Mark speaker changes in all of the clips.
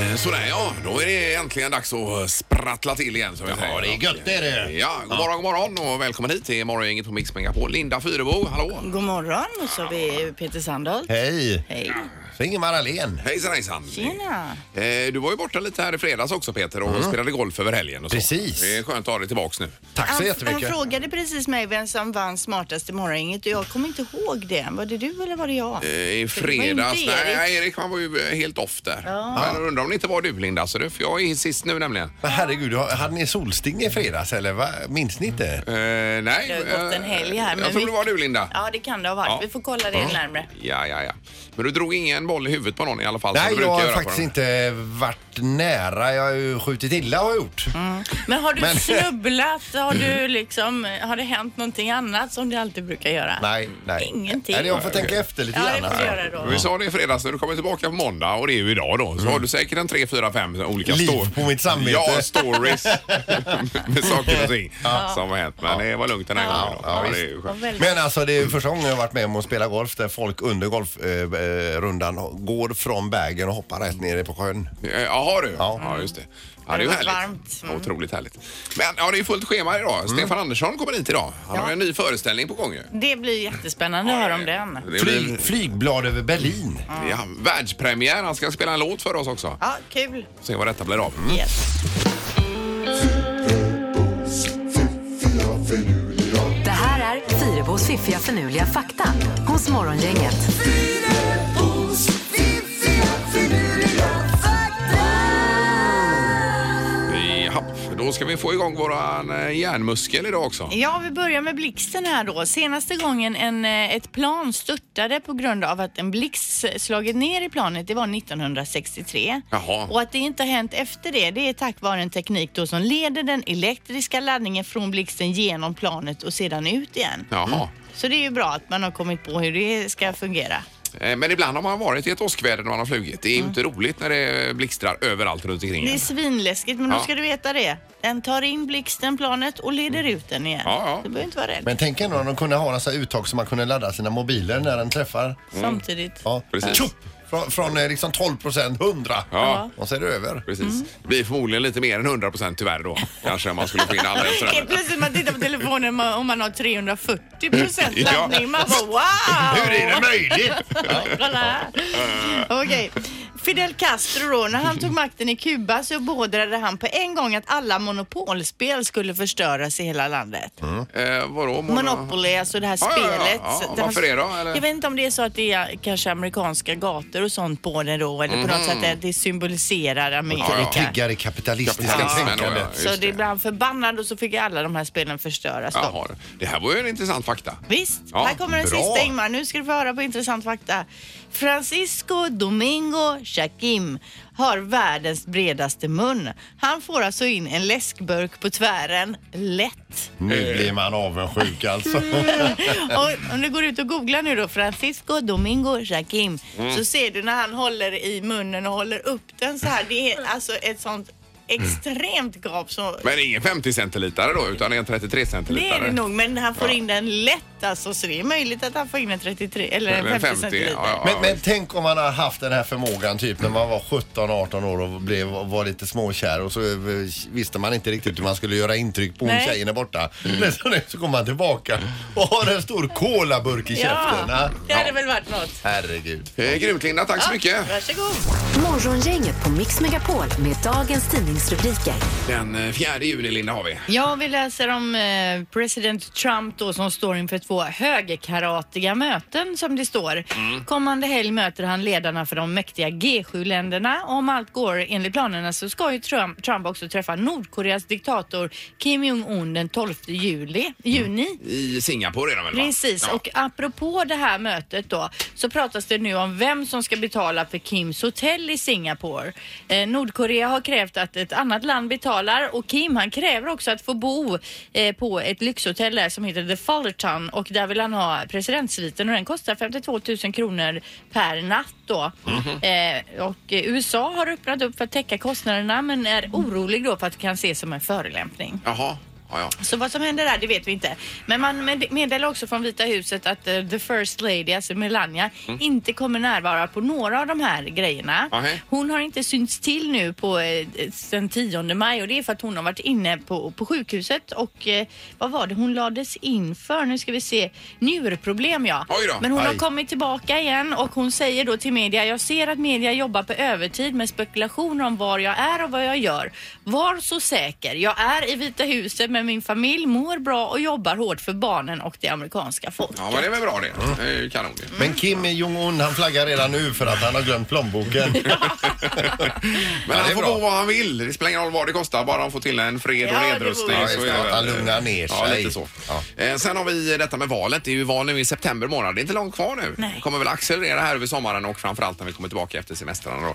Speaker 1: Eh, Sådär ja, då är det äntligen dags att eh, sprattla till igen. Som vi
Speaker 2: Ja,
Speaker 1: säger.
Speaker 2: det är gött det är det.
Speaker 1: Ja, god morgon, god morgon och välkommen hit till Morgongänget på Mix Megapol. Linda Fyrebo, hallå!
Speaker 3: God morgon, och så har vi Peter Sandholt.
Speaker 2: Hej!
Speaker 3: Hej.
Speaker 2: Så Ingemar Ahlén.
Speaker 1: Hejsan hejsan!
Speaker 3: Tjena.
Speaker 1: Eh, Du var ju borta lite här i fredags också Peter och spelade golf över helgen. Och så.
Speaker 2: Mm. Precis.
Speaker 1: Det är skönt att ha dig tillbaks nu.
Speaker 2: Tack så
Speaker 3: Han, han
Speaker 2: jättemycket.
Speaker 3: frågade precis mig vem som vann smartaste morgongänget och jag kommer inte ihåg det. Var det du eller var det jag?
Speaker 1: Eh, I
Speaker 3: För det var ju inte
Speaker 1: fredags.
Speaker 3: Erik.
Speaker 1: Nej, Erik han var ju eh, helt off där. Men jag undrar om det inte var du Linda, så det, för jag är sist nu nämligen. Eh,
Speaker 2: Men herregud, har- hade ni solsting i fredags eller va? Minns ni inte?
Speaker 1: Eh, nej. eh,
Speaker 3: Det har ju gått en helg här,
Speaker 1: Jag
Speaker 3: men
Speaker 1: tror
Speaker 3: vi-
Speaker 1: det var du Linda.
Speaker 3: Ja, det kan det ha varit.
Speaker 1: Ja.
Speaker 3: Vi får kolla det närmre.
Speaker 1: Ja, ja, ja. Men du drog ingen boll i huvudet på någon i alla fall? som
Speaker 2: Nej,
Speaker 1: du
Speaker 2: jag
Speaker 1: brukar
Speaker 2: har
Speaker 1: göra på
Speaker 2: faktiskt
Speaker 1: dem.
Speaker 2: inte varit nära. Jag har ju skjutit illa har jag gjort.
Speaker 3: Mm. Men har du
Speaker 2: Men-
Speaker 3: snubblat? Har, du liksom, har det hänt någonting annat som du alltid brukar göra?
Speaker 2: Nej, nej.
Speaker 3: Ingenting.
Speaker 2: Eller jag får tänka efter lite
Speaker 3: Ja, det
Speaker 2: grann.
Speaker 3: får du
Speaker 2: alltså.
Speaker 3: göra då.
Speaker 1: Vi sa det i fredags när du kommer tillbaka på måndag och det är ju idag då. Så har du säkert en tre, fyra, fem olika
Speaker 2: Mm. Liv
Speaker 1: stor-
Speaker 2: på mitt samvete.
Speaker 1: Ja, stories med saker och ting som har hänt. Men det var lugnt den här gången. Då.
Speaker 2: ja,
Speaker 1: Ja, det
Speaker 2: visst.
Speaker 1: är ju
Speaker 3: Vad
Speaker 1: skönt.
Speaker 3: väldigt-
Speaker 2: Men alltså det är första gången jag har varit med om att spela golf där folk under golfrundan går från bagen och hoppar rätt ner på sjön.
Speaker 1: Eh, Jaha du. Ja.
Speaker 2: Ja.
Speaker 1: just det. Ja, det är ju
Speaker 3: Det har
Speaker 1: härligt.
Speaker 3: varit varmt. Mm.
Speaker 1: Otroligt härligt. Men ja, det är fullt schema idag.
Speaker 2: Mm.
Speaker 1: Stefan Andersson kommer hit idag. Han har en ny föreställning på gång ju.
Speaker 3: Det blir jättespännande att höra om den.
Speaker 1: Det blir,
Speaker 2: Flyg, flygblad över Berlin.
Speaker 3: Mm.
Speaker 1: ja, världspremiär. Han ska spela en låt för oss också.
Speaker 3: Ja, kul.
Speaker 1: Se vad detta blir av.
Speaker 2: Mm.
Speaker 3: Yes.
Speaker 4: Det här är Fyrabos fiffiga förnuliga fakta hos Morgongänget.
Speaker 1: Ja, då ska vi få igång våran eh, hjärnmuskel idag också.
Speaker 3: Ja, vi börjar med blixten här då. Senaste gången en, eh, ett plan störtade på grund av att en blixt slagit ner i planet, det var 1963.
Speaker 1: Jaha.
Speaker 3: Och att det inte har hänt efter det, det är tack vare en teknik då som leder den elektriska laddningen från blixten genom planet och sedan ut igen.
Speaker 1: Jaha.
Speaker 3: Så det är ju bra att man har kommit på hur det ska fungera.
Speaker 1: Eh, Men ibland har man varit i ett åskväder när man har flugit. Det är ju inte roligt när det blixtrar överallt runt omkring
Speaker 3: Det är
Speaker 1: en.
Speaker 3: svinläskigt, men
Speaker 1: Ja.
Speaker 3: då ska du veta det. Den tar in blixten, planet och leder ut den igen.
Speaker 1: Ja, ja.
Speaker 3: Du behöver inte vara rädd.
Speaker 2: Men tänk ändå om de kunde ha några uttag så man kunde ladda sina mobiler när den träffar.
Speaker 3: Samtidigt.
Speaker 2: Ja.
Speaker 1: Precis.
Speaker 2: Tjopp! Från, från eh, liksom 12 procent, 100.
Speaker 1: Ja.
Speaker 2: Och så är det över.
Speaker 1: Precis.
Speaker 3: Mm.
Speaker 1: Det blir förmodligen lite mer än 100 procent tyvärr då. Kanske om man skulle få in alla
Speaker 3: Helt
Speaker 1: restauranger.
Speaker 3: plötsligt man tittar på telefonen man- om man har 340 procent laddning.
Speaker 1: Mm. Ja.
Speaker 3: Man bara wow!
Speaker 2: Hur är det möjligt?
Speaker 3: Kolla här. Okej. Fidel Castro då, när han tog makten i Kuba så beordrade han på en gång att alla monopolspel skulle förstöras i hela landet.
Speaker 1: Eh, vadå? Mona?
Speaker 3: Monopoly, alltså det här
Speaker 1: Ja, ja, ja, ja.
Speaker 3: spelet.
Speaker 1: Ja,
Speaker 3: Så att han-
Speaker 1: varför det då, eller?
Speaker 3: Jag vet inte om det är så att det är kanske amerikanska gator och sånt på det då eller
Speaker 1: Mm.
Speaker 3: på något sätt att det symboliserar
Speaker 2: Det
Speaker 3: Amerika.
Speaker 2: triggar det kapitalistiska
Speaker 1: Kapitalismen,
Speaker 2: tänkandet.
Speaker 1: ja,
Speaker 3: Så
Speaker 1: just
Speaker 3: det
Speaker 1: det.
Speaker 3: blev han förbannad och så fick alla de här spelen förstöras. då.
Speaker 1: Jaha. Det här var ju en intressant fakta.
Speaker 3: Visst,
Speaker 1: Ja,
Speaker 3: här kommer den
Speaker 1: bra.
Speaker 3: sista Ingmar. Nu ska du få höra på intressant fakta. Francisco Domingo Shakim har världens bredaste mun. Han får alltså in en läskburk på tvären lätt.
Speaker 2: Nu
Speaker 1: Eh.
Speaker 2: blir man avundsjuk alltså.
Speaker 1: Mm.
Speaker 3: Och om du går ut och googlar nu då, Francisco Domingo Shakim,
Speaker 1: Mm.
Speaker 3: så ser du när han håller i munnen och håller upp den så här. Det är alltså ett sånt extremt gap. Så
Speaker 1: Men ingen 50 centilitare då, utan en 33
Speaker 3: det
Speaker 1: centilitare.
Speaker 3: är det nog, eh, men han får
Speaker 1: Ja.
Speaker 3: in den lätt alltså. Så det är möjligt att han får in en 33 eller en
Speaker 1: Eller
Speaker 3: 50,
Speaker 1: 50,
Speaker 3: centiliter.
Speaker 1: ja, ja.
Speaker 2: Men, men tänk om man har haft den här förmågan typ när man var 17-18 år och blev, var lite småkär och så eh, visste man inte riktigt hur man skulle göra intryck på hon
Speaker 3: Nej.
Speaker 2: tjejen där borta.
Speaker 1: Mm.
Speaker 2: Men så, nu, så kommer man tillbaka och har en stor kolaburk i käften.
Speaker 3: Ja,
Speaker 2: Ja.
Speaker 3: det hade väl varit något.
Speaker 2: Herregud.
Speaker 1: Eh, grymt Linda, tack så mycket.
Speaker 3: Varsågod.
Speaker 4: Morgongänget på Mix Megapol med dagens tidningsrubriker.
Speaker 1: Den eh, fjärde juni Linda har vi.
Speaker 3: Ja, vi läser om eh, president Trump då som står inför två högerkaratiga möten som det står.
Speaker 1: Mm.
Speaker 3: Kommande helg möter han ledarna för de mäktiga G7-länderna. Om allt går enligt planerna så ska ju Trump, Trump också träffa Nordkoreas diktator Kim Jong-Un den 12 juli, juni.
Speaker 1: I Singapore är de väl? va?
Speaker 3: Precis,
Speaker 1: Ja.
Speaker 3: och apropå det här mötet då så pratas det nu om vem som ska betala för Kims hotell i Singapore. Eh, Nordkorea har krävt att ett annat land betalar och Kim han kräver också att få bo eh, på ett lyxhotell där som heter The Fullerton och där vill han ha presidentsviten och den kostar 52 000 kronor per natt då.
Speaker 1: Mhm.
Speaker 3: eh, och eh, USA har öppnat upp för att täcka kostnaderna men är orolig då för att det kan ses som en förolämpning.
Speaker 1: Jaha. Ja, ja.
Speaker 3: Så vad som händer där, det vet vi inte. Men man med- meddelar också från Vita huset att eh, the first lady, alltså Melania,
Speaker 1: Mm.
Speaker 3: inte kommer närvara på några av de här grejerna.
Speaker 1: Ahä.
Speaker 3: Hon har inte synts till nu på eh, sen 10 maj och det är för att hon har varit inne på, på sjukhuset och eh, vad var det hon lades in för? Nu ska vi se. Njurproblem ja.
Speaker 1: Oj då.
Speaker 3: Men hon har
Speaker 2: Aj.
Speaker 3: kommit tillbaka igen och hon säger då till media, jag ser att media jobbar på övertid med spekulationer om var jag är och vad jag gör. Var så säker, jag är i Vita huset med min familj, mår bra och jobbar hårt för barnen och det amerikanska folket.
Speaker 1: Ja, men det är väl bra det. Det är ju kanon det.
Speaker 2: Men Kim Jong-Un han flaggar redan nu för att han har glömt plånboken.
Speaker 1: Men
Speaker 2: Ja, det
Speaker 1: han
Speaker 2: är
Speaker 1: får
Speaker 2: bra.
Speaker 1: bo vad han vill. Det spelar ingen roll vad det kostar, bara han får till en fred och
Speaker 3: Ja, det
Speaker 1: nedrustning.
Speaker 3: vore-
Speaker 2: Ja, just det.
Speaker 1: väl-
Speaker 2: Han lugnar ner
Speaker 1: Ja,
Speaker 2: sig.
Speaker 1: lite så.
Speaker 2: Ja.
Speaker 1: Eh, Sen har vi detta med valet. Det är ju val nu i september månad. Det är inte långt kvar nu.
Speaker 3: Nej.
Speaker 1: Det kommer väl accelerera här över sommaren och framförallt när vi kommer tillbaka efter semestrarna då.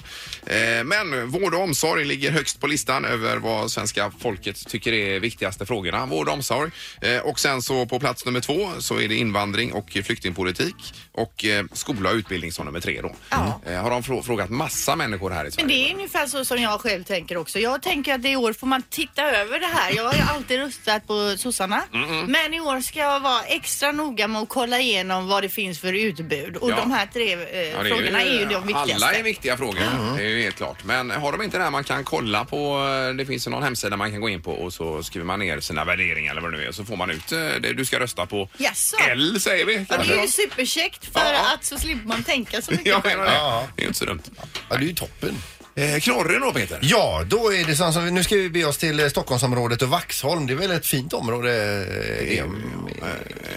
Speaker 1: Eh, Men vård och omsorg ligger högst på listan över vad svenska folket tycker är viktigaste frågorna. Vård och omsorg. Eh, Och sen så på plats nummer två så är det invandring och flyktingpolitik och eh, skola och utbildning som nummer tre då.
Speaker 3: Ja.
Speaker 1: Eh, Har de frå- frågat massa människor här i Sverige?
Speaker 3: Men det är ungefär så som jag själv tänker också. Jag tänker att i år får man titta över det här. Jag har ju alltid röstat på sossarna. Men i år ska jag vara extra noga med att kolla igenom vad det finns för utbud. Och
Speaker 1: Ja.
Speaker 3: de här tre eh,
Speaker 1: Ja, det är
Speaker 3: frågorna är ju de viktigaste.
Speaker 1: Alla är viktiga frågor, det är ju helt klart. Men har de inte det här man kan kolla på, eh, det finns ju någon hemsida man kan gå in på och så skriver man ner sina värderingar eller vad det nu är så får man ut eh, det du ska rösta på.
Speaker 3: Jaså?
Speaker 1: L säger vi.
Speaker 3: Ja, det
Speaker 1: kanske
Speaker 3: är
Speaker 1: då.
Speaker 3: ju superkäckt för
Speaker 1: Ja, ja.
Speaker 3: att så slipper man tänka så mycket.
Speaker 1: Jag menar det.
Speaker 2: Ja.
Speaker 1: Det är ju inte så dumt.
Speaker 2: Ja, det är ju toppen.
Speaker 1: Eh, knorren då Peter?
Speaker 2: Ja, då är det så som, nu ska vi be oss till eh, Stockholmsområdet och Vaxholm. Det är väl ett fint område? eh,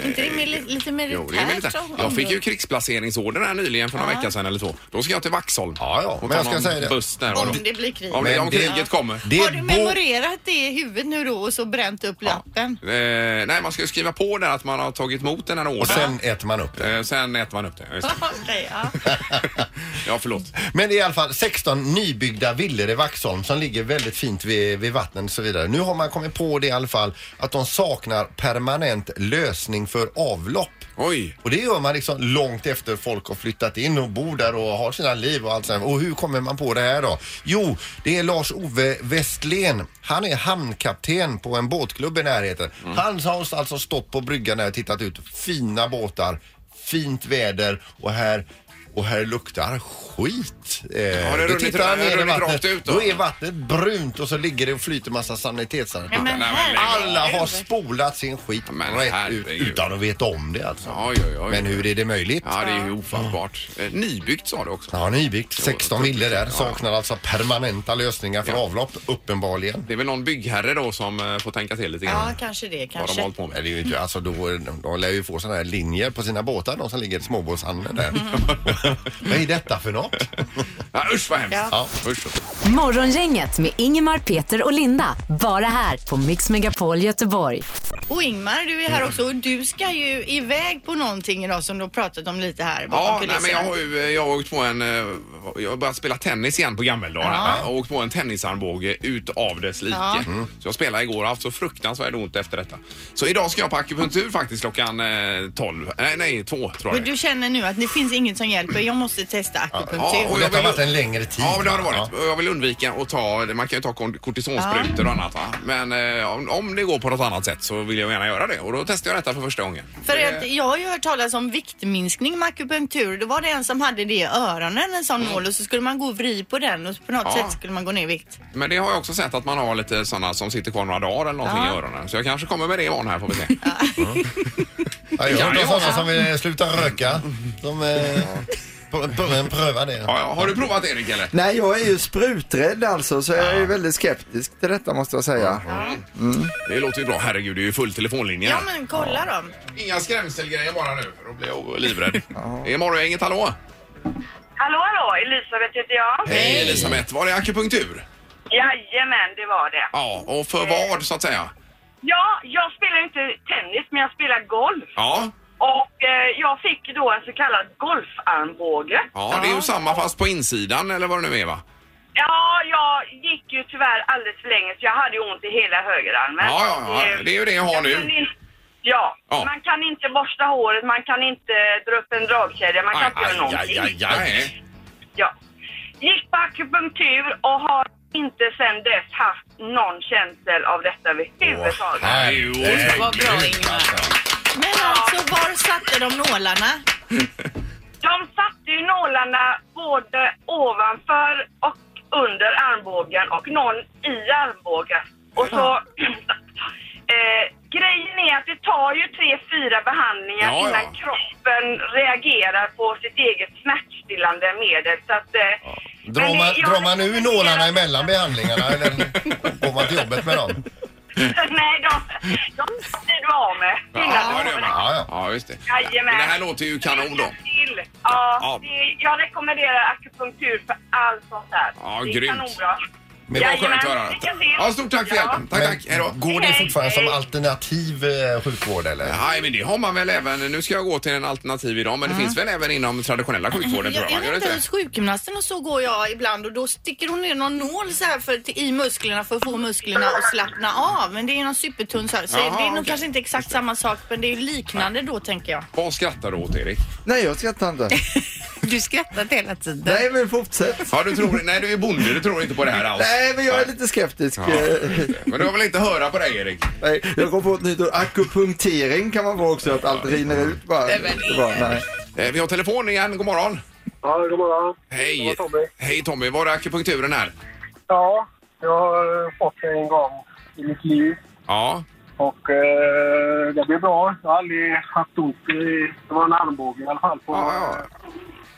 Speaker 3: Inte det med, li- lite
Speaker 1: Jo, det är
Speaker 3: militärt?
Speaker 1: militärt.
Speaker 3: som
Speaker 1: jag fick ju
Speaker 3: område?
Speaker 1: krigsplaceringsorder här nyligen för några veckor sedan eller så. Då ska jag till Vaxholm.
Speaker 2: Ja, ja,
Speaker 1: Och
Speaker 2: men
Speaker 1: ta
Speaker 2: jag ska
Speaker 1: någon
Speaker 2: säga det.
Speaker 1: buss där,
Speaker 3: Om
Speaker 1: vadå?
Speaker 3: det blir krig.
Speaker 1: Om, det, om
Speaker 2: Men det-
Speaker 1: kriget kommer.
Speaker 2: Det
Speaker 3: Har du
Speaker 2: är bo-
Speaker 3: memorerat det i huvudet nu då och så bränt upp lappen?
Speaker 1: Eh, nej, man ska ju skriva på där att man har tagit emot den här ordern.
Speaker 2: och sen äter man upp.
Speaker 1: Eh, sen äter man upp det. Just det.
Speaker 3: Okej, ja.
Speaker 1: Ja, förlåt.
Speaker 2: Men det är i alla fall 16 nybyggda villor i Vaxholm som ligger väldigt fint vid, vid vattnet och så vidare. Nu har man kommit på det i alla fall att de saknar permanent lösning för avlopp.
Speaker 1: Oj.
Speaker 2: Och det gör man liksom långt efter folk har flyttat in och bor där och har sina liv och allt sånt. Och hur kommer man på det här då? Jo, det är Lars-Ove Westlén. Han är hamnkapten på en båtklubb i närheten.
Speaker 1: Mm.
Speaker 2: Han har alltså stått på bryggan där och tittat ut. Fina båtar, fint väder och här och här luktar skit. Eh,
Speaker 1: Har det
Speaker 2: då
Speaker 1: runnit-
Speaker 2: tittar han
Speaker 1: har det
Speaker 2: ner i
Speaker 1: runnit
Speaker 2: vattnet.
Speaker 1: rakt ut då?
Speaker 2: då? är vattnet brunt och så ligger det och flyter massa sanitetsartiklar.
Speaker 3: Nej, men
Speaker 1: Nej, men
Speaker 3: här-
Speaker 2: Alla har spolat sin skit
Speaker 1: Men
Speaker 2: rätt ut
Speaker 1: herregud.
Speaker 2: utan att veta om det alltså.
Speaker 1: Oj, oj, oj.
Speaker 2: Men hur är det möjligt?
Speaker 1: Ja, det är ju ofattbart. Eh, Nybyggt sa du också.
Speaker 2: Ja, nybyggt. 16 villor där.
Speaker 1: Ja.
Speaker 2: Saknar alltså permanenta lösningar för
Speaker 1: Ja.
Speaker 2: avlopp, uppenbarligen.
Speaker 1: Det är väl någon byggherre då som eh, får tänka till lite
Speaker 3: ja,
Speaker 1: grann.
Speaker 3: kanske det.
Speaker 1: vad de har
Speaker 3: Kanske.
Speaker 1: hållit på
Speaker 2: Nej,
Speaker 1: med.
Speaker 2: det är ju inte, alltså då, de lär ju få sådana här linjer på sina båtar, de som ligger i småbåtshamnen där. Vad är detta för något?
Speaker 1: Ja, usch vad hemskt.
Speaker 2: Ja.
Speaker 1: Usch.
Speaker 4: Morgongänget med Ingemar, Peter och Linda. Bara här på Mix Megapol Göteborg.
Speaker 3: Och Ingmar, du är här också och du ska ju iväg på någonting idag som du har pratat om lite här
Speaker 1: Ja,
Speaker 3: bakom
Speaker 1: nej, men jag har ju eh, jag har åkt på en... eh, Jag har börjat spela tennis igen på gammeldagen.
Speaker 3: Ja.
Speaker 1: Jag har åkt på en tennisarmbåge utav dess like.
Speaker 3: Ja.
Speaker 2: Mm.
Speaker 1: Så jag spelade igår och har haft så fruktansvärt ont efter detta. Så idag ska jag på akupunktur faktiskt klockan eh, 12. Nej, nej, 2 tror
Speaker 3: Och
Speaker 1: jag det är.
Speaker 3: du känner nu att det finns inget som hjälper. Jag måste testa akupunktur.
Speaker 1: Ja, jag
Speaker 2: Och detta har
Speaker 1: vill-
Speaker 2: varit en längre tid.
Speaker 1: Ja, men det har det
Speaker 2: Ja.
Speaker 1: varit. Och Jag vill undvika att ta, man kan ju ta kon- kortisonsprutor och annat va. Men eh, om, om det går på något annat sätt så vill jag gärna göra det. Och då testar jag detta för första gången.
Speaker 3: För
Speaker 1: Det-
Speaker 3: att jag har ju hört talas om viktminskning med akupunktur. Då var det en som hade det i öronen, en sån nål och så skulle man gå och vri på den och på något
Speaker 1: Ja.
Speaker 3: sätt skulle man gå ner i vikt.
Speaker 1: Men det har jag också sett att man har lite sådana som sitter kvar några dagar eller någonting
Speaker 3: Ja.
Speaker 1: i öronen. Så jag kanske kommer med det imorgon här får vi se.
Speaker 2: Ja, jag
Speaker 1: Ja,
Speaker 2: har
Speaker 1: det
Speaker 2: hört
Speaker 1: var
Speaker 2: om sådana som vill sluta röka. De eh, pr- pr- prövar det.
Speaker 1: Ja, ja. Har du provat Erik eller?
Speaker 5: Nej, jag är ju spruträdd alltså, så jag är väldigt skeptisk till detta måste jag säga.
Speaker 1: Det låter ju bra. Herregud, det är ju full telefonlinje.
Speaker 3: Ja
Speaker 1: här.
Speaker 3: men kolla då.
Speaker 1: Inga skrämselgrejer bara nu. Då blir jag livrädd. Det är morgongänget, hallå?
Speaker 6: Hallå, hallå! Elisabeth heter jag.
Speaker 1: Hej Elisabeth, var det akupunktur?
Speaker 6: Jajamän, det var det.
Speaker 1: Ja, och för vad så att säga?
Speaker 6: Ja, jag spelar inte tennis, men jag spelar golf.
Speaker 1: Ja,
Speaker 6: Och eh, jag fick då en så kallad golfarmbåge.
Speaker 1: ja det är ju samma fast på insidan eller vad det nu är va?
Speaker 6: Ja, jag gick ju tyvärr alldeles för länge, så jag hade ju ont i hela högerarmen.
Speaker 1: Ja, ja, ja.
Speaker 6: Eh,
Speaker 1: Det är ju det jag har
Speaker 6: jag kan
Speaker 1: nu.
Speaker 6: in- Ja,
Speaker 1: Ja.
Speaker 6: man kan inte borsta håret, man kan inte dra upp en dragkedja, man kan
Speaker 1: Aj,
Speaker 6: inte göra någonting.
Speaker 1: aj, aj, aj.
Speaker 6: Ja. Gick på akupunktur och har inte sen dess haft någon känsel av detta överhuvudtaget.
Speaker 1: herregud.
Speaker 2: herregud,
Speaker 3: Vad bra, Ingmar.
Speaker 2: alltså.
Speaker 3: Men alltså, var satte de nålarna?
Speaker 6: De satte ju nålarna både ovanför och under armbågen och någon i armbågen. Och så... eh, grejen är att det tar ju tre, fyra behandlingar
Speaker 1: Ja, ja.
Speaker 6: innan kroppen reagerar på sitt eget smärtstillande medel. Så att, eh,
Speaker 2: Drar
Speaker 6: men
Speaker 2: man,
Speaker 6: jag
Speaker 2: drar man ur
Speaker 6: rekommenderar-
Speaker 2: nålarna emellan behandlingarna eller går man till jobbet med dem?
Speaker 6: Nej, de, de blir du av med.
Speaker 1: Ja, det gör man.
Speaker 2: Ja, ja.
Speaker 1: Ja, just det.
Speaker 6: Jajamän.
Speaker 1: Men det här låter ju kanon då.
Speaker 6: Lycka till. Ja,
Speaker 1: Ja.
Speaker 6: Det, jag rekommenderar akupunktur för allt sånt här.
Speaker 1: Ja,
Speaker 6: det är
Speaker 1: grymt.
Speaker 6: kanonbra.
Speaker 1: Men vad skönt att
Speaker 6: Jajamän,
Speaker 1: höra.
Speaker 6: lycka till.
Speaker 1: Ja, stort tack för
Speaker 6: Ja.
Speaker 1: hjälpen. Tack,
Speaker 2: Men
Speaker 1: tack. Hej då.
Speaker 2: Går det
Speaker 6: Hej,
Speaker 2: fortfarande som
Speaker 6: hej.
Speaker 2: alternativ eh, sjukvård eller?
Speaker 1: Nej, men det har man väl även. Nu ska jag gå till en alternativ idag, men det finns väl även inom traditionella sjukvården tror
Speaker 3: Jag,
Speaker 1: jag.
Speaker 3: jag
Speaker 1: va? Gör
Speaker 3: vet
Speaker 1: det inte?
Speaker 3: inte, hos sjukgymnasten och så går jag ibland och då sticker hon ner någon nål så här för, i musklerna för att få musklerna att slappna av. Men det är någon supertunn så här. Så
Speaker 1: Jaha,
Speaker 3: det är nog
Speaker 1: okej.
Speaker 3: kanske inte exakt samma sak men det är ju liknande då tänker jag.
Speaker 1: Vad skrattar du åt, Erik?
Speaker 5: Nej, jag skrattar inte.
Speaker 3: Du skrattar hela tiden.
Speaker 5: Nej, men fortsätt.
Speaker 1: Ja, du tror, nej, du är bonde. Du tror inte på det här alls.
Speaker 5: Nej, men jag är lite skeptisk. Eh,
Speaker 1: Men du har väl inte höra på dig, Erik?
Speaker 5: Nej, jag kom på ett nytt ord. Akupunktering kan man vara också, att allt rinner ut bara. Det var- nej.
Speaker 1: Eh, vi har telefon igen. God morgon.
Speaker 7: Ja, god morgon.
Speaker 1: Hej.
Speaker 7: Det var Tommy.
Speaker 1: Hej Tommy. Var är akupunkturen här?
Speaker 7: Ja, jag har eh, fått det en gång i mitt liv
Speaker 1: Ja.
Speaker 7: och eh, det blev bra. Jag har aldrig haft ont i... Det var en armbåge i alla fall på
Speaker 1: Ja,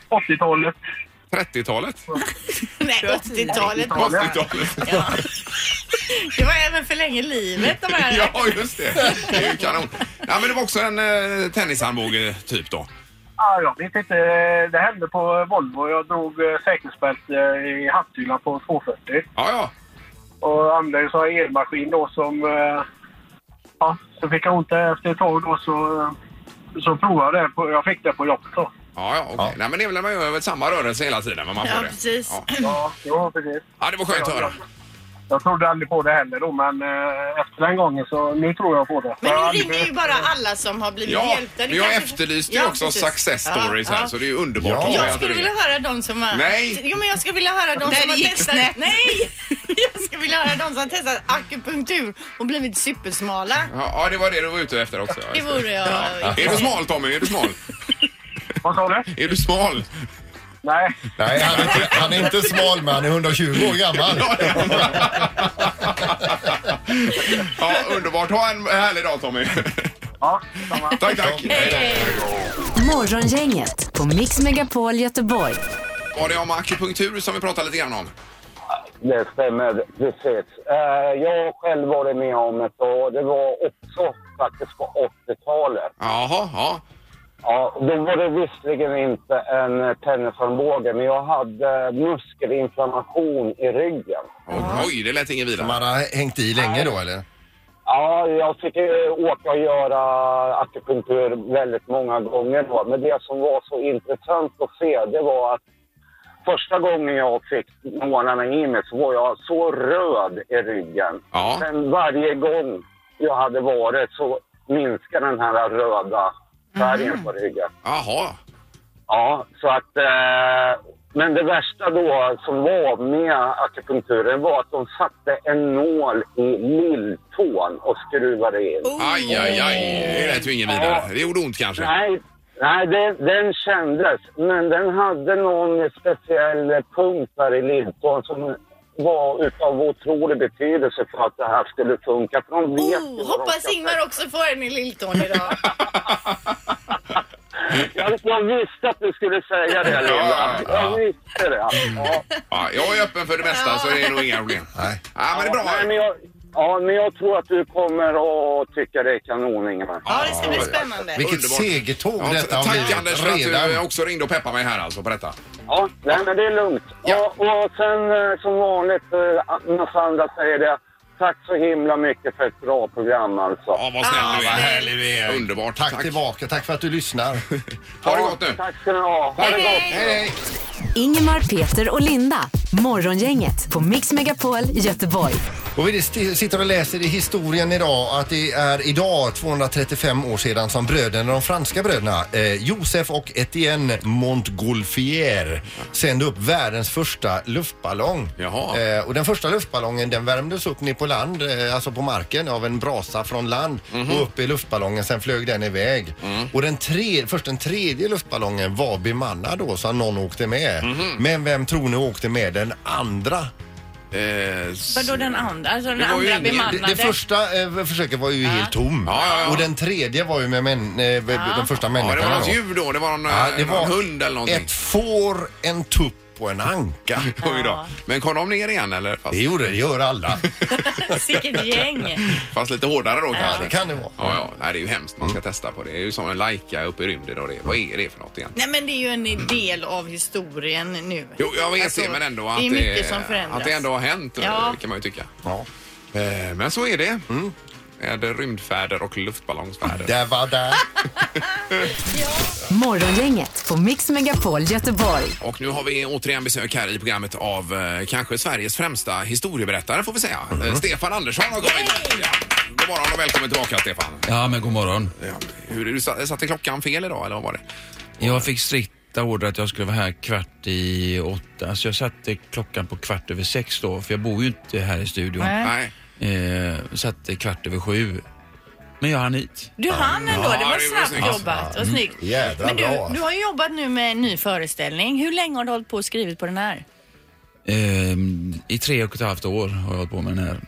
Speaker 7: 80-talet.
Speaker 1: 30-talet?
Speaker 3: Nej, 80-talet.
Speaker 1: 80-talet?
Speaker 3: Ja. Det var även för länge livet de här.
Speaker 1: Ja, just det. Det är ju kanon. Ja, men det var också en eh, tennisarmbåge typ då.
Speaker 7: Ja, jag vet inte. Det hände på Volvo. Jag drog eh, säkerhetsbälte i hatthyllan på 240
Speaker 1: Ja, ja.
Speaker 7: och använde en sån här elmaskin då som... eh, Ja, så fick jag ont efter ett tag då så, så provade jag det. På, jag fick det på jobbet då.
Speaker 1: Ja, ja, okej. Nej, men det är väl när man gör väl samma rörelse hela tiden. Men man får
Speaker 3: Ja,
Speaker 1: det.
Speaker 3: precis.
Speaker 1: Ja.
Speaker 7: Ja, jo, precis.
Speaker 1: ja, det var skönt att höra.
Speaker 7: Jag trodde aldrig på det heller då, men eh, efter den gången så nu tror jag på det.
Speaker 3: Men
Speaker 7: Jag
Speaker 3: nu
Speaker 7: hade-
Speaker 3: ringer ju bara alla som har blivit
Speaker 1: Ja,
Speaker 3: hjälpta. Det
Speaker 1: men jag
Speaker 3: kanske-
Speaker 1: efterlyste ju
Speaker 3: Ja,
Speaker 1: också
Speaker 3: precis.
Speaker 1: success
Speaker 3: Ja,
Speaker 1: stories här,
Speaker 3: ja.
Speaker 1: så det är ju underbart.
Speaker 2: Ja.
Speaker 1: att höra
Speaker 3: Jag
Speaker 1: att
Speaker 3: skulle
Speaker 1: du
Speaker 3: vilja
Speaker 1: ringer.
Speaker 3: höra de som har...
Speaker 1: Nej.
Speaker 3: Jo, men jag skulle vilja höra de som har testat... Nej! Jag skulle vilja höra de som har testat akupunktur och blivit supersmala.
Speaker 1: Ja, ja, det var det du var ute efter också. Ja,
Speaker 3: Det
Speaker 1: just
Speaker 3: vore jag...
Speaker 1: Är du smal Tommy? Är du smal?
Speaker 7: Vad sa du?
Speaker 1: Är du smal?
Speaker 7: Nej.
Speaker 2: Nej, han är, inte, han är inte smal men han är 120 år gammal.
Speaker 1: Ja, underbart. Ha en härlig dag Tommy.
Speaker 7: Ja, samma.
Speaker 1: Tack, tack. Hej då.
Speaker 4: Morgongänget på Mix Megapol Göteborg.
Speaker 1: Var det om akupunktur som vi pratade lite grann om?
Speaker 8: Det stämmer, precis. Eh, Jag har själv varit med om ett och det var också faktiskt på 80-talet.
Speaker 1: Jaha, ja.
Speaker 8: Ja, då var det visserligen inte en eh, tennisarmbåge, men jag hade eh, muskelinflammation i ryggen.
Speaker 1: Oj, oj, det lät inget vidare.
Speaker 2: Man har hängt i länge då eller?
Speaker 8: Ja, jag fick eh, åka och göra akupunktur väldigt många gånger då. Men det som var så intressant att se, det var att första gången jag fick nålarna i mig så var jag så röd i ryggen.
Speaker 1: Ja.
Speaker 8: Men varje gång jag hade varit så minskade den här röda färgen
Speaker 3: Mm.
Speaker 8: på ryggen.
Speaker 1: Jaha.
Speaker 8: Ja, så att... Eh, men det värsta då som var med akupunkturen var att de satte en nål i lilltån och skruvade in.
Speaker 3: Oh.
Speaker 1: Aj, aj, aj. Det lät ju inget vidare. Det gjorde ont kanske.
Speaker 8: Nej, nej det, den kändes. Men den hade någon speciell punkt där i lilltån som var utav otrolig betydelse för att det här skulle funka. För de vet ju vad
Speaker 3: Oh,
Speaker 8: de
Speaker 3: hoppas
Speaker 8: ska
Speaker 3: Ingmar också får en i lilltån idag.
Speaker 8: Jag, jag visste att du skulle säga det, Linda.
Speaker 1: Ja, Mm.
Speaker 8: Jag visste det. Ja.
Speaker 1: Ja, jag är öppen för det mesta så det är nog inga problem.
Speaker 2: Nej.
Speaker 1: Ja, men det är
Speaker 8: Nej,
Speaker 1: bra.
Speaker 8: men jag, ja, men jag tror att du kommer att tycka det är kanon, Ingemar.
Speaker 3: Ja, det ska bli spännande.
Speaker 2: Vilket
Speaker 1: Underbart.
Speaker 2: segertåg
Speaker 1: Ja,
Speaker 2: detta har
Speaker 1: tack
Speaker 2: blivit
Speaker 1: Anders för att du
Speaker 2: redan.
Speaker 1: också ringde och peppade mig här alltså på detta.
Speaker 8: Ja, nej, men det är lugnt.
Speaker 1: Ja.
Speaker 8: Och, och sen eh, som vanligt, eh, massa andra säger det. Tack så himla mycket för ett bra program alltså.
Speaker 1: Ja, vad snäll du är.
Speaker 3: vad
Speaker 2: härlig vi är.
Speaker 1: Underbart.
Speaker 2: Tack, tillbaka, tack för att du lyssnar.
Speaker 1: Ha det gott nu.
Speaker 8: Tack ska ni ha. Ha det gott.
Speaker 2: Hej,
Speaker 4: Ingemar, Peter och Linda. Morgongänget på Mix Megapol Göteborg.
Speaker 2: Och vi sti- sitter och läser i historien idag att det är idag 235 år sedan som bröderna, de franska bröderna, eh, Josef och Etienne Montgolfier sände upp världens första luftballong.
Speaker 8: Jaha.
Speaker 2: Eh, och den första luftballongen den värmdes upp ner på land, eh, alltså på marken av en brasa från land och upp i luftballongen. Sen flög den iväg. Och den tre, först den tredje luftballongen var bemannad då så att någon åkte med. Men vem tror ni åkte med den andra?
Speaker 8: Eh, s-
Speaker 3: Vadå den andra? Alltså den
Speaker 8: Det var ju
Speaker 3: andra
Speaker 8: ingen- det-
Speaker 2: Det,
Speaker 3: bemannade?
Speaker 2: det första eh, försöket var ju helt tom.
Speaker 8: Ja, ja, ja.
Speaker 2: Och den tredje var ju med män, eh, de första
Speaker 8: ja, det
Speaker 2: människorna.
Speaker 8: var
Speaker 2: då.
Speaker 8: något djur då. Det var någon,
Speaker 2: Ja, det
Speaker 1: eh,
Speaker 8: någon
Speaker 2: var
Speaker 8: hund eller någonting.
Speaker 2: Ett får, en tupp och en anka.
Speaker 8: Oj då. Men kom de ner igen eller? Fast,
Speaker 2: Det gjorde det, det gör alla.
Speaker 3: Sicket gäng.
Speaker 8: fast lite hårdare då
Speaker 2: Ja,
Speaker 8: kanske?
Speaker 2: det kan det vara.
Speaker 8: Ja, ja. Nej, det är ju hemskt man ska
Speaker 3: Mm.
Speaker 8: testa på. Det är ju som en Laika uppe i rymden. Och det. Vad är det för något egentligen?
Speaker 3: Nej men det är ju en del av historien nu.
Speaker 8: Jo, jag vet
Speaker 3: Alltså,
Speaker 8: det, men ändå att
Speaker 3: det är mycket som förändras.
Speaker 8: Att det ändå har hänt,
Speaker 3: Ja. Mm.
Speaker 8: kan man ju tycka.
Speaker 2: Ja.
Speaker 8: Eh, Men så är det. Är det rymdfärder och luftballongsfärder?
Speaker 2: Där var där.
Speaker 4: Morgongänget på Mix Megapol Göteborg.
Speaker 8: Och nu har vi återigen besök här i programmet av eh, kanske Sveriges främsta historieberättare får vi säga.
Speaker 3: Mm.
Speaker 8: Eh, Stefan Andersson har kommit. Ja. God morgon och välkommen tillbaka Stefan.
Speaker 1: Ja, men god morgon.
Speaker 8: Ja. Hur, du sa- satte klockan fel idag eller vad var det?
Speaker 1: Jag fick strikta order att jag skulle vara här kvart i åtta. Så jag satte klockan på kvart över sex då, för jag bor ju inte här i studion.
Speaker 3: Nej.
Speaker 8: Nej.
Speaker 1: Eh, satte kvart över sju. Men jag hann hit.
Speaker 3: Du hann ändå, det
Speaker 8: det var
Speaker 3: var snabbt
Speaker 8: snyggt. Mm.
Speaker 3: jobbat. Vad snyggt.
Speaker 2: Jädra
Speaker 3: Men
Speaker 2: bra.
Speaker 3: du,
Speaker 2: alltså.
Speaker 3: du har ju jobbat nu med en ny föreställning. Hur länge har du hållit på och skrivit på den här?
Speaker 1: Eh, I tre och ett halvt år har jag hållit på med den här.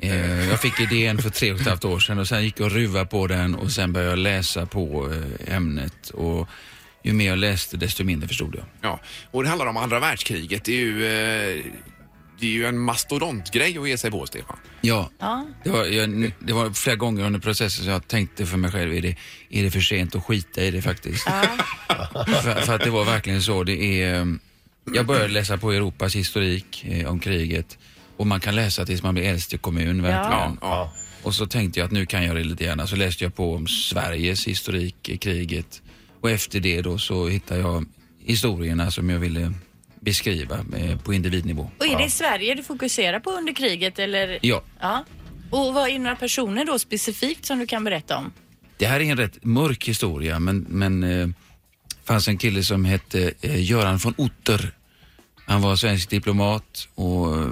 Speaker 1: Eh, jag fick idén för tre och ett halvt år sedan och sen gick jag och ruvade på den och sen började jag läsa på eh, ämnet. Och ju mer jag läste desto mindre förstod jag.
Speaker 8: Ja. Och det handlar om andra världskriget. Det är ju, eh, det är ju en mastodontgrej att ge sig på Stefan.
Speaker 1: Ja,
Speaker 3: Ja.
Speaker 1: Det, var, jag, det var flera gånger under processen som jag tänkte för mig själv, är det, är det för sent att skita i det faktiskt? för, för att det var verkligen så. Det är, eh, jag började läsa på Europas historik eh, om kriget och man kan läsa tills man blir äldst i kommun verkligen.
Speaker 8: Ja.
Speaker 1: Och så tänkte jag att nu kan jag det lite grann. Så läste jag på om Sveriges historik i kriget och efter det då så hittade jag historierna som jag ville beskriva eh, på individnivå.
Speaker 3: Och är det Sverige du fokuserar på under kriget eller?
Speaker 1: Ja.
Speaker 3: ja. Och vad är några personer då specifikt som du kan berätta om?
Speaker 1: Det här är en rätt mörk historia men, men eh, fanns en kille som hette eh, Göran von Otter. Han var svensk diplomat och eh,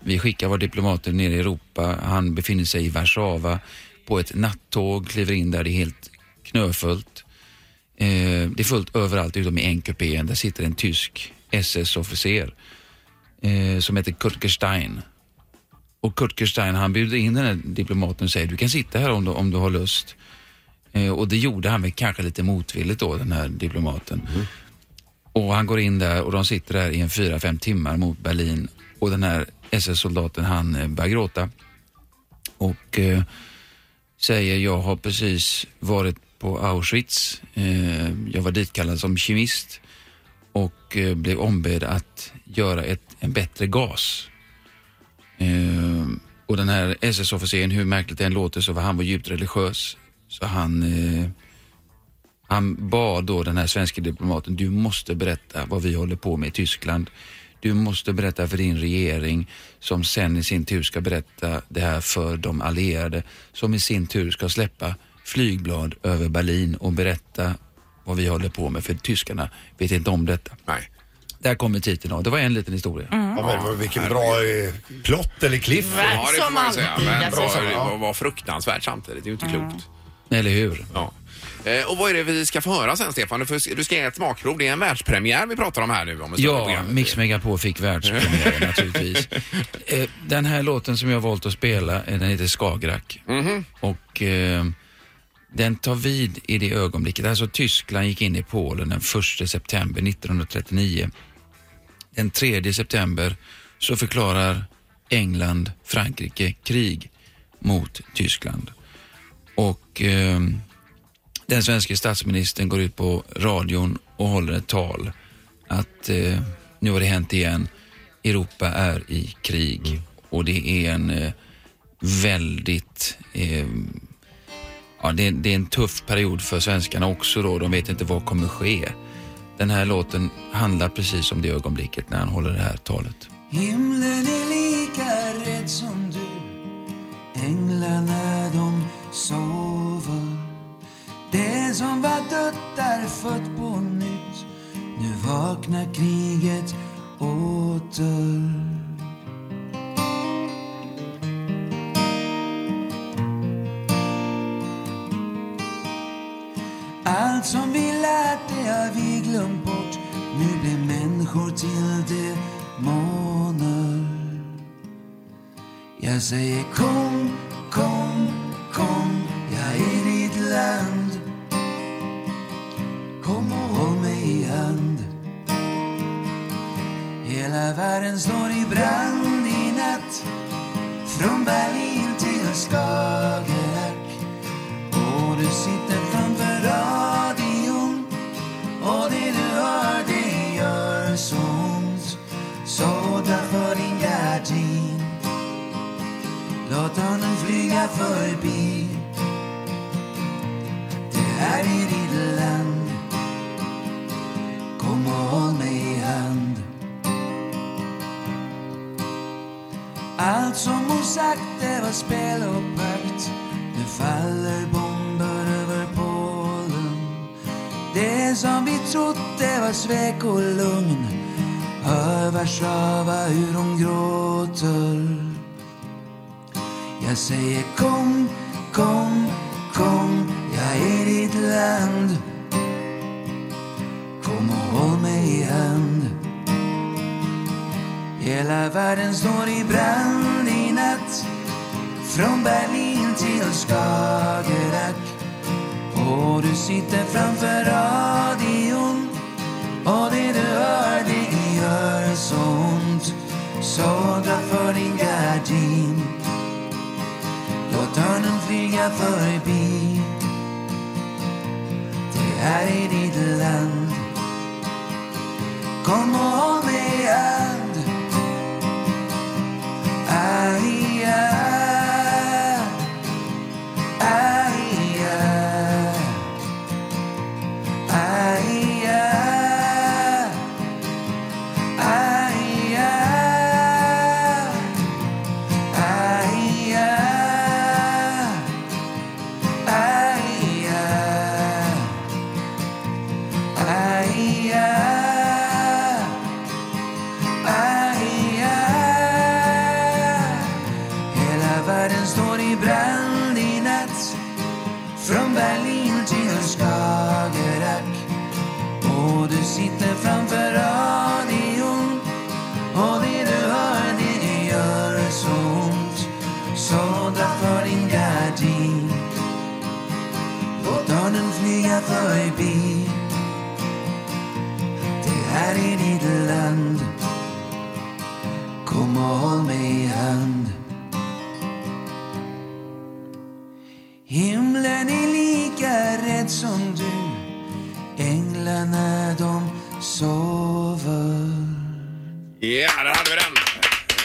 Speaker 1: vi skickade våra diplomater ner i Europa. Han befinner sig i Warszawa på ett nattåg, kliver in där, det är helt knöfullt. Eh, det är fullt överallt utom i en kupé. Där sitter en tysk SS-officer eh, som heter Kurtgerstein. Och Kurtgerstein han bjuder in den här diplomaten och säger du kan sitta här om du, om du har lust. Eh, och det gjorde han väl kanske lite motvilligt då, den här diplomaten. Och han går in där och de sitter där i en fyra, fem timmar mot Berlin. Och den här SS-soldaten han eh, börjar gråta. Och eh, säger jag har precis varit på Auschwitz. Eh, jag var ditkallad som kemist och eh, blev ombedd att göra ett, en bättre gas. Eh, och den här SS-officeren, hur märkligt det än låter, så var han var djupt religiös. Så han, eh, han bad då den här svenska diplomaten, du måste berätta vad vi håller på med i Tyskland. Du måste berätta för din regering som sen i sin tur ska berätta det här för de allierade som i sin tur ska släppa flygblad över Berlin och berätta vad vi håller på med för tyskarna vet inte om detta.
Speaker 8: Nej.
Speaker 1: Där kommer titeln av. Det var en liten historia.
Speaker 2: Ja, men vad- vilken bra eh, plott eller kliff.
Speaker 8: Ja, det får
Speaker 3: Som
Speaker 8: man ju säga.
Speaker 3: alltid,
Speaker 8: Men
Speaker 3: alltså.
Speaker 8: det var, var fruktansvärt samtidigt. Det är ju inte klokt.
Speaker 1: Eller hur?
Speaker 8: Ja. Eh, Och vad är det vi ska få höra sen Stefan? Du, får, du ska ge ett smakprov. Det är en världspremiär vi pratar om här nu. Om en stund i
Speaker 1: Ja,
Speaker 8: programmet.
Speaker 1: Mix Megapol fick världspremiär naturligtvis. Eh, Den här låten som jag har valt att spela, eh, den heter Skagerrak.
Speaker 8: Mhm.
Speaker 1: Och eh, den tar vid i det ögonblicket. Alltså Tyskland gick in i Polen den 1 september 1939. Den 3 september så förklarar England, Frankrike krig mot Tyskland. Och eh, den svenska statsministern går ut på radion och håller ett tal att eh, nu har det hänt igen. Europa är i krig och det är en eh, väldigt eh, ja, det, är- det är en tuff period för svenskarna också då. De vet inte vad kommer ske. Den här låten handlar precis om det ögonblicket när han håller det här talet.
Speaker 9: Himlen är lika rädd som du Änglarna de sover Det som var dött är fött på nytt Nu vaknar kriget åter Allt som vi lärt det har vi glömt bort Nu blir människor till demoner Jag säger kom, kom, kom Jag är ditt land Kom och håll mig i hand Hela världen står i brand i natt Från Berlin till Skagerrak och du sitter framför radion och det du hör det gör så ont. Så därför din gardin. Låt honom flyga förbi. Det här är ditt land. Kom och håll mig i hand. Allt som hon sagt det var spel och pakt Nu faller bomber över Polen Det som vi trott det var svek och lugn Hör Warszawa hur hon gråter Jag säger kom, kom, kom Jag är ditt land Kom och håll mig i hand Hela världen står i brand i natt Från Berlin till Skagerrak Och du sitter framför radion Och det du hör det gör så ont Så dra för din gardin Låt örnen flyga förbi Det här är ditt land Kom och håll mig i hand Aia, aia, aia, aia, aia, aia, aia. Aia. Hela världen står i brand i natt Från Berlin till Skagerrak Och du sitter framför radion Och det du hör det, det gör så ont Så dra för din gardin Låt örnen flyga förbi Det här är ditt land Kom och håll mig i hand Himlen är lika rädd som du Änglarna de sover
Speaker 1: Ja, där hade vi den.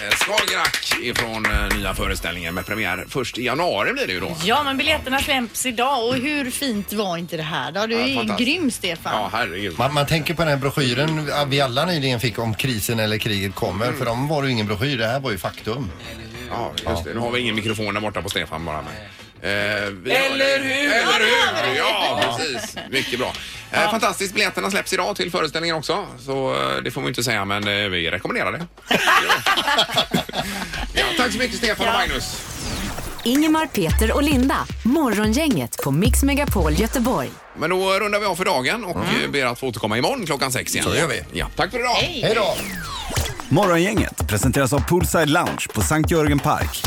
Speaker 1: Eh, Skagerrak ifrån eh, nya föreställningen med premiär först i januari blir det ju då.
Speaker 3: Ja, men biljetterna släpps idag och hur fint var inte det här då? Du
Speaker 1: Ja,
Speaker 3: är
Speaker 1: fantastiskt.
Speaker 3: grym Stefan.
Speaker 1: Ja, herregud.
Speaker 2: Man, man tänker på den här broschyren vi alla nyligen fick om krisen eller kriget kommer.
Speaker 8: Mm.
Speaker 2: För de var ju ingen broschyr, det här var ju faktum.
Speaker 1: Ja, just det. Nu har vi ingen mikrofon där borta på Stefan bara. Men. Eh, vi har-
Speaker 9: Eller hur?
Speaker 1: Eller hur! Ja, precis. Mycket bra. Eh, Fantastiskt. Biljetterna släpps idag till föreställningen också. Så eh, det får man ju inte säga, men eh, vi rekommenderar det. ja. Ja, tack så mycket Stefan och Magnus.
Speaker 4: Ingemar, Peter och Linda. Morgongänget på Mix Megapol Göteborg.
Speaker 1: Men då rundar vi av för dagen och eh, ber att få återkomma imorgon klockan sex igen.
Speaker 2: Mm. Så gör vi.
Speaker 1: Ja, tack för idag.
Speaker 2: Hej då!
Speaker 10: Morgongänget presenteras av Poolside Lounge på Sankt Jörgen Park.